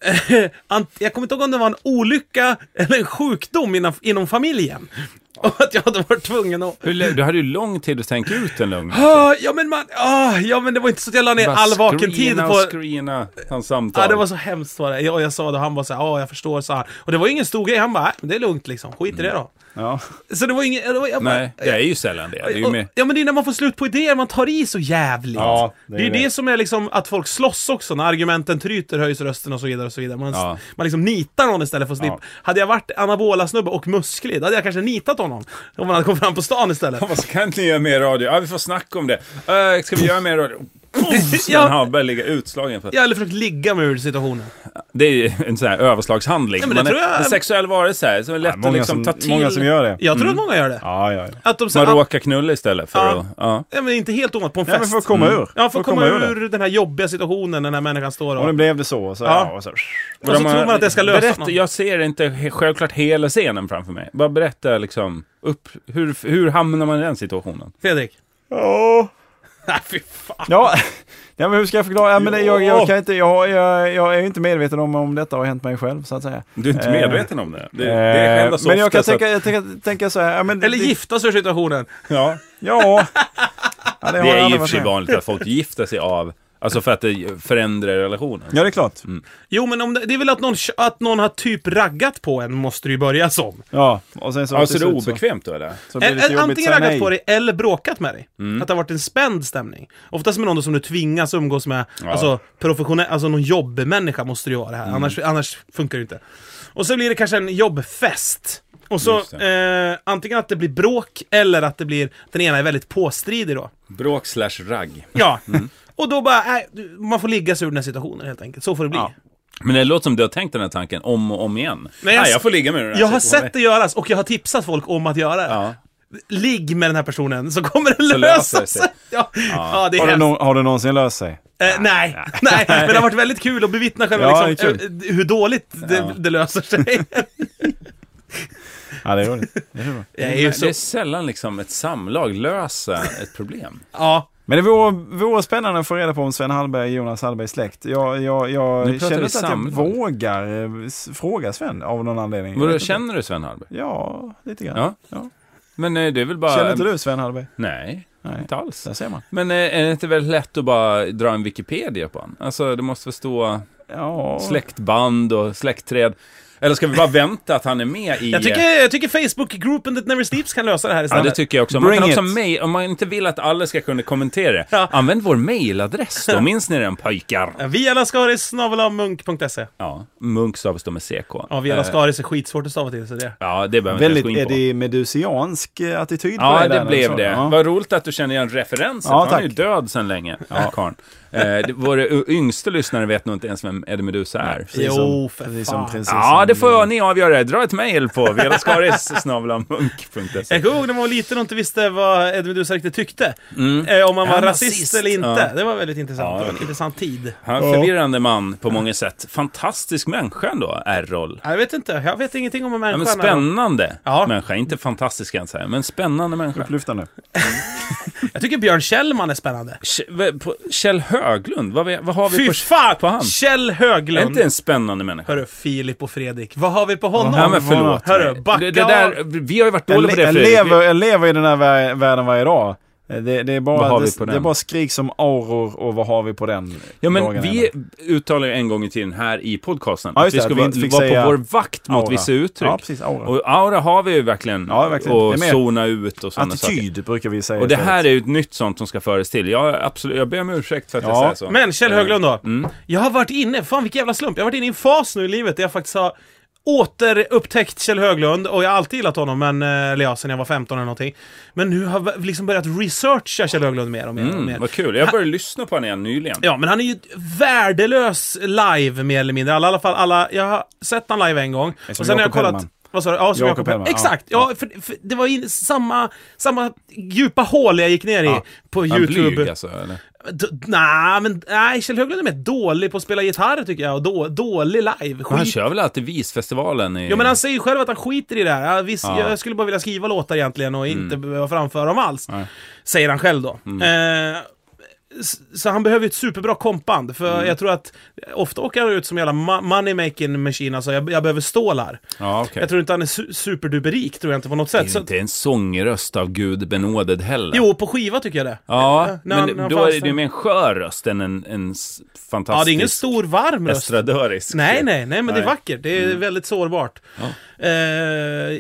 S1: eh, ant- jag kommer inte ihåg om det var en olycka eller en sjukdom inom, inom familjen. Och att jag hade varit tvungen att...
S3: Hur lä- Du hade ju lång tid att tänka ut en lögn.
S1: Ah, ja men man, ah, ja men det var inte så att jag la ner
S3: Bara
S1: all vaken tid
S3: screena
S1: på...
S3: och screena hans samtal.
S1: Ja, det var så hemskt var det. Jag, jag sa det och han bara såhär, ja jag förstår, sa han. Och det var ju ingen stor grej, han bara, "Nej, men det är lugnt liksom, skit i det då.
S2: Ja.
S1: Så det var inget, det var, jag bara,
S3: Nej, det är ju sällan det. det är ju
S1: Och-
S3: mer...
S1: Ja men det är när man får slut på idéer, man tar i så jävligt.
S2: Ja,
S1: det, är ju det. som är liksom att folk slåss också, när argumenten tryter höjs rösten och så vidare och så vidare. Man,
S3: Ja.
S1: man liksom nitar någon istället för att slippa.
S2: Ja.
S1: Hade jag varit anabola-snubbe och musklig, då hade jag kanske nitat honom. Om man hade kommit fram på stan istället.
S3: Vad ska inte ni göra mer radio? Ja, vi får snacka om det. Eh, ska vi göra mer radio? Sven
S1: Ja.
S3: Hallberg ligger utslagen. För.
S1: Jag hade försökt ligga mig ur situationen.
S3: Det är ju en sån här överslagshandling.
S1: Ja, men det
S3: Man är
S1: tror jag-
S3: en sexuell varelse här, så det är lätt
S2: Många,
S3: att liksom
S2: som,
S3: ta till.
S2: många som gör det.
S1: Jag tror att många gör det.
S2: Ja, ja, ja.
S1: Att de
S3: Man
S1: säger, ah,
S3: råkar knulla istället för
S1: Ja.
S3: att... Ja.
S1: ja, men inte helt ovanligt, på en
S2: Nej, men
S1: fest.
S2: för att komma ur.
S1: Ja, för att komma
S2: det.
S1: ur den här jobbiga situationen den här människan står
S2: Och nu
S1: och...
S2: blev det så. och så,
S1: Ja.
S2: ja. och så.
S1: Och så
S3: De har-
S1: tror man att det ska lösa
S3: berätta,
S1: något.
S3: Jag ser inte he- självklart hela scenen framför mig. Bara berätta liksom, upp, hur, hur hamnar man i den situationen?
S1: Fredrik.
S2: Ja.
S1: Nej, fy fan.
S2: Ja. ja, men hur ska jag förklara? Ja, men det- jag,
S3: Ja.
S2: jag, kan inte, jag, jag, jag är ju inte medveten om om detta har hänt mig själv, så att säga.
S3: Du är inte
S2: Eh,
S3: medveten om det. Det, det
S2: Eh,
S3: händer så
S2: men jag
S3: ofta
S2: kan
S3: så att-
S2: tänka, jag tänker, tänka så här. Ja, men,
S1: Eller
S2: det-
S1: gifta sig ur situationen.
S2: Ja. ja. ja det, har
S3: Det är
S2: jag
S3: ju
S2: aldrig
S3: för
S2: varit
S3: sig
S2: med om.
S3: vanligt att folk gifter sig av Alltså för att det förändrar relationen.
S2: Ja, det är klart.
S3: Mm.
S1: Jo, men om det, det är väl att någon, att någon har typ raggat på en, måste det ju börja som.
S2: Ja, och sen så...
S3: Alltså
S2: till
S3: det är
S2: slut så-
S3: obekvämt då eller?
S2: så blir det lite
S1: Eller,
S2: jobbigt
S1: antingen
S2: att säga
S1: raggat
S2: nej. Mm.
S1: på dig eller bråkat med dig. Att det har varit en spänd stämning. Oftast med någon då som du tvingas umgås med, alltså professionell, alltså någon jobbmänniska måste du ju vara det
S2: Mm.
S1: här, annars, annars funkar det ju inte. Och så blir det kanske en jobbfest. Och så
S3: Just
S1: eh, antingen att det blir bråk eller att det blir, den ena är väldigt påstridig då.
S3: Bråk slash ragg.
S1: Ja.
S2: Mm.
S1: Och då bara, äh, du- man får ligga sig ur den här situationen helt enkelt. Så får det bli.
S2: Ja.
S3: Men det låter som du har tänkt den här tanken om och om igen.
S1: Men
S3: Nej,
S1: jag-
S3: jag, får ligga med den här
S1: Jag har
S3: situationen.
S1: sett det göras och jag har tipsat folk om att göra det.
S3: Ja.
S1: Ligg med den här personen så kommer det
S3: Så löser
S1: lösa
S3: det sig.
S1: sig. Ja. Ja. det är
S2: Har det,
S1: hemskt.
S2: nå- har det någonsin löst sig?
S1: Eh, nej, nej, men det har varit väldigt kul att bevittna själva
S2: Ja,
S1: liksom,
S2: det
S1: eh, hur dåligt det, det löser sig.
S2: Ja, det är roligt. Det är bra.
S1: Det är ju
S3: Men
S1: så,
S3: Det är sällan liksom ett samlag löser ett problem.
S1: ja.
S2: Men det vore, vore spännande att få reda på om Sven Hallberg är Jonas Hallbergs släkt. Jag, jag,
S3: Nu
S2: jag
S3: pratar
S2: känner
S3: vi
S2: inte att jag
S3: samlag.
S2: vågar eh, s- fråga Sven av någon anledning. Jag
S3: Vadå,
S2: vet inte.
S3: känner du Sven Hallberg?
S2: Ja, lite grann.
S3: Ja. Men eh, det är väl bara...
S2: Känner inte du Sven Hallberg?
S3: Nej,
S2: Nej.
S3: inte alls.
S2: Där ser man.
S3: Men eh, är det inte väldigt lätt att bara dra en Wikipedia på honom? Alltså, det måste väl stå
S2: Ja.
S3: släktband och släktträd. Eller ska vi bara vänta att han är med i...
S1: Jag tycker, jag tycker Facebookgruppen That Never Sleeps kan lösa det här
S3: Ja,
S1: istället.
S3: det tycker jag också. Man
S2: Bring
S3: kan också
S2: it.
S3: mail, om man inte vill att alla ska kunna kommentera det,
S1: Ja.
S3: använd vår mailadress då. Minns ni den pojkar?
S1: Vi alla skaris snabel-a-munk.se.
S3: Ja, Munk stavas då med CK.
S1: Ja, vi alla skaris är skitsvårt att stava till, så det...
S3: Ja, det behöver vi inte ens
S2: Väldigt
S3: gå in på.
S2: edimedusiansk eh, attityd på
S3: Ja,
S2: dig
S3: det
S2: där när du
S3: blev
S2: sa
S3: det.
S2: Ja.
S3: Vad roligt att du känner igen referensen.
S2: Ja,
S3: Han är
S2: tack.
S3: ju död sedan länge, ja. karln. Eh, det- våra y- yngste lyssnare vet nog inte ens vem Eddie Meduza är.
S2: Precis
S1: Jo,
S2: som-
S1: för
S2: precis
S1: fan.
S2: som prinsessan.
S3: Ja, det får ni avgöra. Dra ett mejl på velaskaris.munk.se.
S1: Jag kommer ihåg när man var liten och inte visste vad Edvin Dusa riktigt tyckte. Eh, om man var
S3: han
S1: rasist,
S3: rasist?
S1: eller inte.
S3: Ja.
S1: Det var väldigt intressant.
S3: Ja,
S1: det var en intressant tid.
S3: Han är en förvirrande man på många sätt. Fantastisk människa ändå, Errol.
S1: Jag vet inte, jag vet ingenting om en
S3: Ja,
S1: människa.
S3: men spännande
S1: Ja.
S3: människa. Inte fantastisk kan jag säga, men spännande människa.
S2: Upplyftande.
S1: Jag tycker Björn Kjellman är spännande.
S3: K- v- på- Kjell Höglund, vad, vi- vad har vi
S1: Fy
S3: på...
S1: fan!
S3: på han?
S1: Kjell
S3: Är
S1: Höglund.
S3: inte en spännande människa?
S1: Hörru, Filip och Fredrik. Vad har vi på honom?
S3: Ja, men förlåt.
S1: Hörru, backa
S3: det, det där, Vi har ju varit
S2: Jag,
S3: dåliga på
S2: le-
S3: det,
S2: jag,
S3: Fredrik.
S2: lever, jag lever i den här vär- världen varje dag. Eh, Det, det, är
S3: Vad har
S2: bara,
S3: vi på
S2: det, det är
S3: den?
S2: bara skrik som auror och vad har vi på den?
S3: Ja, men
S2: dagen
S3: vi
S2: ända.
S3: uttalade ju en gång i tiden här i podcasten
S2: Ja,
S3: att
S2: just
S3: vi
S2: det,
S3: ska
S2: att vi
S3: vara,
S2: inte fick
S3: vara
S2: säga
S3: på vår vakt mot
S2: aura.
S3: vissa uttryck.
S2: Ja, precis, aura.
S3: Och aura har vi ju verkligen.
S2: Ja, verkligen. Det
S3: Och
S2: är mer
S3: zona ut och sådana saker.
S2: Attityd brukar vi säga.
S3: Och det
S2: istället.
S3: här är ju ett nytt sånt som ska föras till. Jag, absolut, jag ber om ursäkt för att jag
S2: Ja.
S3: säger så.
S1: Men Kjell Höglund då.
S3: mm.
S1: Jag har varit inne, fan vilken jävla slump. Jag har varit inne i en fas nu i livet där jag faktiskt har återupptäckt Kjell Höglund och jag har alltid gillat honom, men, eh, eller ja, sen jag var 15 eller någonting. Men nu har jag liksom börjat researcha Kjell Höglund mer och mer. och mer.
S3: Mm, vad kul. Jag började lyssna på honom igen nyligen.
S1: Ja, men han är ju värdelös live mer eller mindre. Alla, i alla fall, alla, jag har sett han live en gång.
S2: Som
S1: Och sen har jag
S2: Jakob
S1: kollat...
S2: Hellman.
S1: Vad sa du? Ja, som Jakob
S2: Jakob
S1: Hellman.
S2: Hellman, ja.
S1: Exakt! Ja, för, för det var ju samma, samma djupa hål jag gick ner i på
S3: Han
S1: YouTube.
S3: blyg alltså, eller?
S1: D- Nej, men nej, Kjell Höglund är mer dålig på att spela gitarr tycker jag, och då, dålig live.
S3: Han
S1: Skit.
S3: kör väl alltid Visfestivalen i...
S1: Mm. Ja, men han säger ju själv att han skiter i det här. Ja, visst,
S3: Mm. Ja. Mm.
S1: Jag skulle bara vilja skriva låtar egentligen och inte behöva framföra dem alls. Säger han själv då. Eh, s- så han behöver ju ett superbra kompband, för
S3: Mm.
S1: jag tror att ofta åker han ut som en jävla ma- money-making machine, alltså jag, jag behöver stålar.
S3: Ja, okej.
S1: Jag tror inte han är su- superduperrik, tror jag inte på något sätt.
S3: Det är
S1: Så,
S3: ju inte en sångröst av Gud benådad heller.
S1: jo, på skiva tycker jag det.
S3: Ja,
S1: när han-
S3: men
S1: när han
S3: då
S1: fanns
S3: är det
S1: där.
S3: ju mer en skör röst än en, en s- fantastisk...
S1: Ja, det är ingen stor varm röst.
S3: estradörisk.
S1: Nej, nej, nej, men det är
S3: Nej. Mm.
S1: vackert. Det är väldigt sårbart. Eh,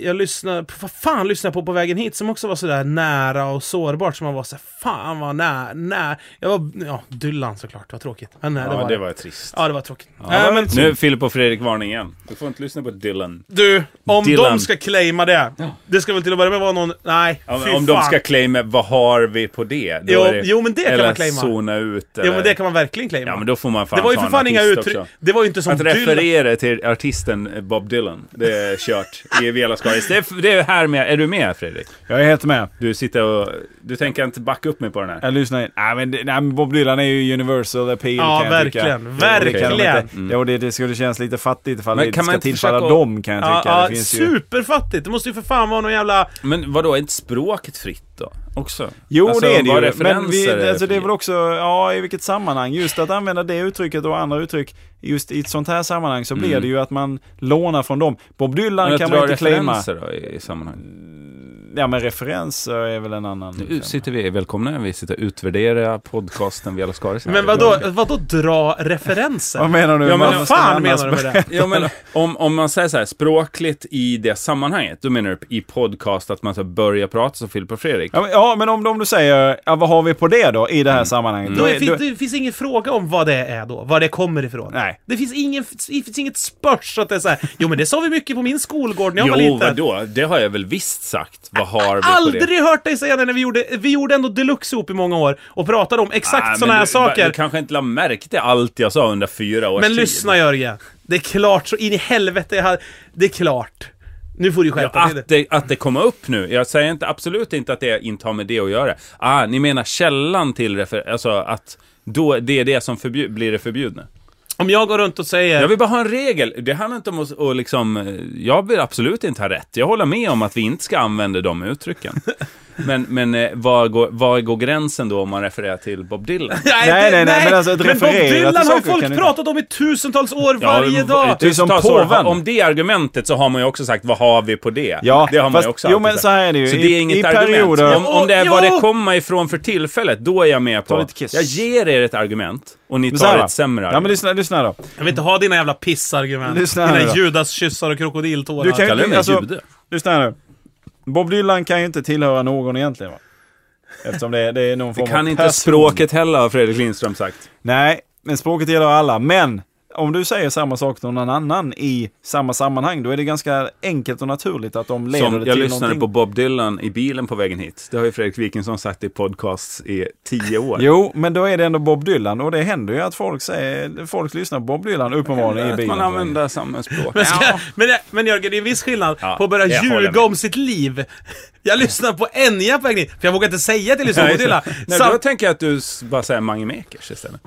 S1: jag lyssnade på, vad fan lyssnade jag på på vägen hit som också var sådär nära och sårbart som man var såhär, fan vad nära, nära. Jag var, ja, Dylan såklart, vad tråkigt. Men nej,
S3: Ja,
S1: det var,
S3: trist.
S1: Ja, det var tråkigt. Nej, men,
S3: Nu är Filip och Fredrik varning igen. Du får inte lyssna på Dylan.
S1: du, om
S3: Dylan.
S1: de ska claima det, det ska väl till att börja med vara någon, nej,
S3: Om,
S1: fy
S3: om de
S1: fan.
S3: ska claima, vad har vi på det? Då
S1: Jo,
S3: är det
S1: jo, men det kan
S3: eller
S1: man claima.
S3: zona ut, eller...
S1: Jo, men det kan man verkligen claima.
S3: Ja, men då får man fan
S1: det var ju
S3: ta
S1: för
S3: en
S1: fan inga
S3: artist
S1: uttryck,
S3: också.
S1: det var ju inte som
S3: Att
S1: Dylan.
S3: referera till artisten Bob Dylan, det är kört i Vela Skaris. Det är, det är här med. Är du med Fredrik?
S2: Jag är helt med.
S3: Du sitter och... Du tänker inte backa upp mig på den här?
S2: Jag lyssnar in. Nej men, det- nej, men Bob Dylan är ju universal appeal
S1: Ja,
S2: kan jag tycka.
S1: verkligen,
S2: Det- det kan de
S1: verkligen.
S2: inte- Ja, och det, det skulle kännas lite fattigt ifall
S3: Men
S2: det inte
S3: kan man
S2: ska
S3: inte
S2: tillfalla
S3: försöka-
S2: dem kan jag
S1: Ja,
S2: tycka.
S1: ja,
S2: det finns ju...
S1: superfattigt! Det måste ju för fan vara någon jävla...
S3: Men vadå, är inte språket fritt då? Också?
S2: Jo,
S3: Alltså,
S2: det är
S3: vad
S2: det ju.
S3: referenser
S2: Men vi,
S3: är
S2: alltså, det är
S3: för-
S2: väl också, ja, i vilket sammanhang. Just att använda det uttrycket och andra uttryck, just i ett sånt här sammanhang så blir det ju att man lånar från dem. Bob
S3: Mm. Men
S2: Dylan
S3: att
S2: kan
S3: dra
S2: man inte claima.
S3: referenser då i, i sammanhang?
S2: ja men referenser är väl en annan.
S3: Nu sitter vi, välkomna, vi sitter och utvärderar podcasten vi alla skaris.
S1: Men vadå, vadå dra referenser?
S2: Vad menar du?
S3: Ja, men
S2: Man
S1: Vad
S2: måste
S1: fan
S2: annars
S1: menar du med det?
S3: Ja, men om, om man säger så här, språkligt i det sammanhanget, då menar du i podcast att man så här börjar prata som Filip och Fredrik?
S2: Ja, men, ja, men om, om du säger, ja, vad har vi på det då i det här
S3: Mm.
S2: sammanhanget?
S1: Då
S2: Då
S1: är,
S2: är- då-
S1: det finns ingen fråga om vad det är då, var det kommer ifrån.
S2: Nej.
S1: Det finns, ingen, det finns inget spörs att det är så här. jo men det sa vi mycket på min skolgård när jag var
S3: jo,
S1: liten.
S3: vadå? Det har jag väl visst sagt. Vad har vi på det?
S1: Aldrig hört dig säga det när vi gjorde, vi gjorde ändå deluxe ihop i många år och pratade om exakt
S3: Ah, men
S1: sådana här
S3: du-
S1: saker.
S3: Du kanske inte la märke till allt jag sa under fyra års
S1: Men
S3: tid.
S1: lyssna Jörgen, det är klart så in i helvete jag hade, det är klart. Nu får du skärpa till det.
S3: Att det, att det kommer upp nu. Jag säger inte, absolut inte att det inte har med det att göra. Ah, ni menar källan till refer... Alltså att då, det är det som förbju- blir det förbjudna.
S1: Om jag går runt och säger
S3: Jag vill bara ha en regel. Det handlar inte om att och liksom... eh, Jag vill absolut inte ha rätt. Jag håller med om att vi inte ska använda de uttrycken. Men, men eh, var, går, var går gränsen då om man refererar till Bob Dylan?
S2: Nej,
S1: det-
S2: nej, nej, men alltså, att
S1: Bob
S2: referera till
S1: Dylan har
S2: saker kan
S1: folk
S2: du inte-
S1: pratat om i tusentals år
S3: Ja,
S1: varje
S3: men-
S1: dag.
S2: Det är som
S3: tusentals år.
S2: påven.
S3: Om det argumentet så har man ju också sagt, vad har vi på det?
S2: Ja,
S3: det har man
S2: fast-
S3: ju också
S2: jo,
S3: alltid
S2: men
S3: sagt.
S2: så här är det ju.
S3: Så det
S2: I-
S3: är inget
S2: i
S3: argument.
S2: perioder-
S3: Om, om det är
S1: Jo!
S3: vad det kommer ifrån för tillfället, då är jag med på.
S2: Ta lite kiss.
S3: Jag ger er ett argument och ni
S2: Men så här
S3: tar
S2: va?
S3: ett sämre
S2: Ja, men
S3: argument.
S2: lyssna, lyssna då.
S1: Jag vill inte ha dina jävla pissargument.
S2: Lyssna här
S1: dina
S2: då.
S1: judaskyssar och krokodiltårar.
S2: Du kan ju-
S3: Kallar du mig
S2: alltså-
S3: jude?
S2: Lyssna här nu. Bob Dylan kan ju inte tillhöra någon egentligen va? Eftersom det, det är någon form
S3: Det kan
S2: av
S3: inte
S2: person.
S3: språket heller, har Fredrik Lindström sagt.
S2: Nej, men språket gäller alla. Men om du säger samma sak till någon annan i samma sammanhang, då är det ganska enkelt och naturligt att de leder
S3: Som
S2: det
S3: jag
S2: till
S3: lyssnade
S2: någonting.
S3: på Bob Dylan i bilen på vägen hit. Det har ju Fredrik Wikingsson sagt i podcasts i tio år.
S2: Jo, men då är det ändå Bob Dylan och det händer ju att folk, säger, folk lyssnar på Bob Dylan uppenbarligen
S3: att
S2: i
S3: man
S2: bilen.
S3: använder samma språk.
S1: Men, ska, men, men Jörgen, det är en viss skillnad
S3: Ja,
S1: på att börja
S3: jag håller
S1: ljuga
S3: med.
S1: om sitt liv. Jag lyssnar på Enya på vägen hit, för jag vågar inte säga att jag lyssnar på
S3: Nej,
S1: Dylan.
S3: så- Nej,
S1: Sam-
S3: då tänker jag att du s- bara säger Mange Makers istället.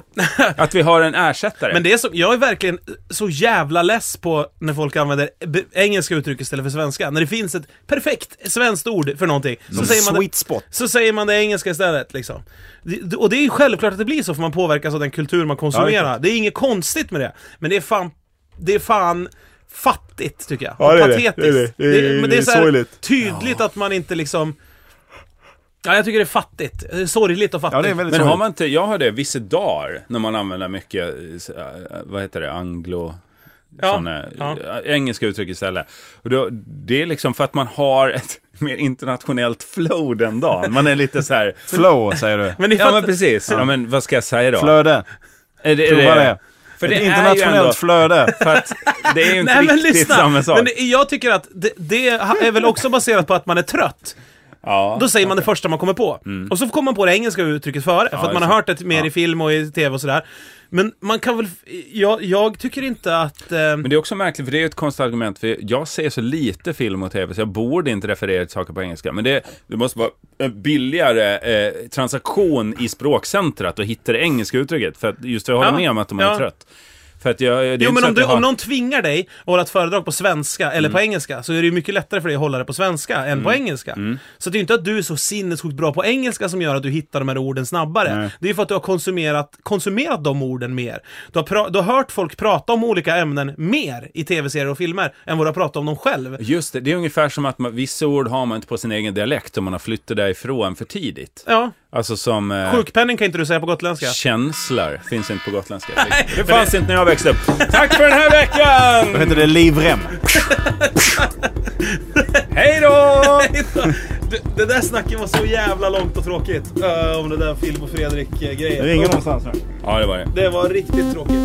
S3: Att vi har en ersättare.
S1: Men det är som, jag är verkligen så jävla less på när folk använder be- engelska uttryck istället för svenska. När det finns ett perfekt svenskt ord för någonting. Så, säger, man
S2: Sweet
S1: det,
S2: spot.
S1: så säger man det engelska istället. Liksom. Det- Och det är ju självklart att det blir så, för man påverkas av den kultur man
S2: Ja, det är
S1: konsumerar.
S2: klart.
S1: det är inget konstigt med det. Men det är fan, det är fan fattigt, tycker jag.
S2: Ja,
S1: Och
S2: det är det.
S1: Patetiskt.
S2: Det är det. Det är-
S1: men
S2: det är
S1: så här
S2: sorgligt.
S1: tydligt att man inte liksom... Ja, jag tycker det är fattigt. Det är liksom- Sorgligt och fattigt.
S2: Ja, det är väldigt
S3: Men har
S2: sorgligt.
S3: man inte, jag hörde vissa dagar när man använder mycket, eh, så, eh, vad heter det, anglo...
S1: Ja,
S3: Såna,
S1: ja.
S3: eh, Engelska uttryck istället. Och då, det är liksom för att man har ett mer internationellt flow den dagen. Man är lite så här...
S2: Flow, säger du.
S1: Men ni
S3: Ja
S1: fattar-
S3: men precis. Ja, men vad ska jag säga då?
S2: Flöde.
S3: Är det, är
S2: Prova det.
S3: För det
S2: Ett
S3: är ju ändå...
S2: internationellt flöde.
S3: För att det är ju inte
S1: Nej men
S3: riktigt samma
S1: lyssna!
S3: sak.
S1: Men det, jag tycker att det, det är väl också baserat på att man är trött.
S3: ja.
S1: Då säger man det första man kommer på.
S3: Mm.
S1: Och så kommer man på det engelska uttrycket före, för att
S3: just
S1: man
S3: det.
S1: har hört det mer i film och i tv och sådär. Men man kan väl... Jag, jag tycker inte att... Eh,
S3: Men det är också märkligt, för det är ju ett konstigt argument, för jag ser så lite film och tv, så jag borde inte referera till saker på engelska. Men det, det måste vara en billigare eh, transaktion i språkcentrat att hitta det engelska uttrycket, för att, just för jag håller
S1: Ja,
S3: med om att man är
S1: ja.
S3: trött. För att jag, det är
S1: jo
S3: inte
S1: men
S3: så
S1: om,
S3: att
S1: du,
S3: jag har- Mm.
S1: om någon tvingar dig att hålla ett föredrag på svenska eller på engelska så är det ju mycket lättare för dig att hålla det på svenska än på engelska.
S3: Mm.
S1: Så det är ju inte att du är så sinnessjukt bra på engelska som gör att du hittar de här orden snabbare. Det är ju för att du har konsumerat, konsumerat de orden mer. Du har, pra- du har hört folk prata om olika ämnen mer i tv-serier och filmer än vad du har pratat om dem själv.
S3: Just det, det är ungefär som att man, vissa ord har man inte på sin egen dialekt om man har flyttat därifrån för tidigt.
S1: Ja,
S3: Alltså som... Eh,
S1: sjukpenning kan inte du säga på gotländska.
S3: Känslor finns inte på gotländska. Det fanns inte när jag växte upp. Tack för den här veckan!
S2: Då heter det livrem.
S3: Hej då!
S1: Du, det där snacket var så jävla långt och tråkigt. eh, om det där Filip och eh, Fredrik-grejen.
S2: Ringer någonstans nu.
S3: Ja, det var det.
S1: Det var riktigt tråkigt.